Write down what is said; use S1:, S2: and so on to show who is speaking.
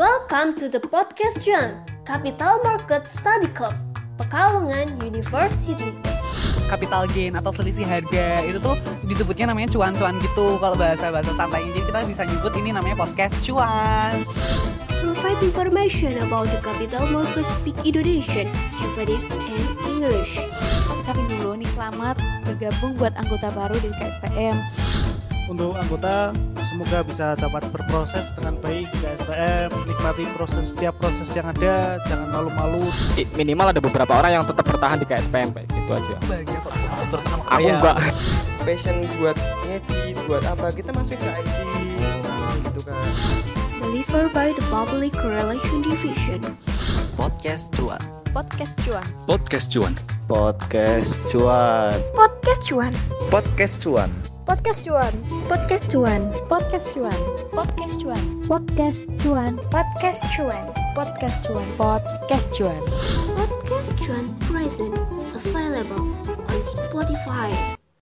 S1: Welcome to the podcast John, Capital Market Study Club, Pekalongan University.
S2: capital gain atau selisih harga itu tuh disebutnya namanya cuan-cuan gitu kalau bahasa-bahasa santainya jadi kita bisa nyebut ini namanya podcast cuan
S1: You'll find information about the capital market speak Indonesian, Japanese, and English.
S3: ucapin dulu nih selamat bergabung buat anggota baru di KSPM.
S4: untuk anggota semoga bisa dapat berproses dengan baik di SPM nikmati proses setiap proses yang ada jangan malu-malu
S5: I- minimal ada beberapa orang yang tetap bertahan di KSPM kayak gitu aja.
S2: bahagia kok aku terutama
S5: Aku
S6: Iya.
S5: enggak.
S6: passion buat ngedit, buat apa kita masuk ke IT gitu kan.
S1: Delivered by the Public Relation Division.
S7: podcast cuan.
S3: Podcast Cuan.
S5: Podcast cuan.
S1: Podcast Cuan.
S7: Podcast cuan.
S3: Podcast Cuan.
S1: Podcast Cuan.
S3: Podcast Cuan. Podcast Cuan. Podcast Cuan. Podcast Cuan. Podcast Cuan. Podcast Cuan.
S1: Podcast Cuan Present. Available on Spotify.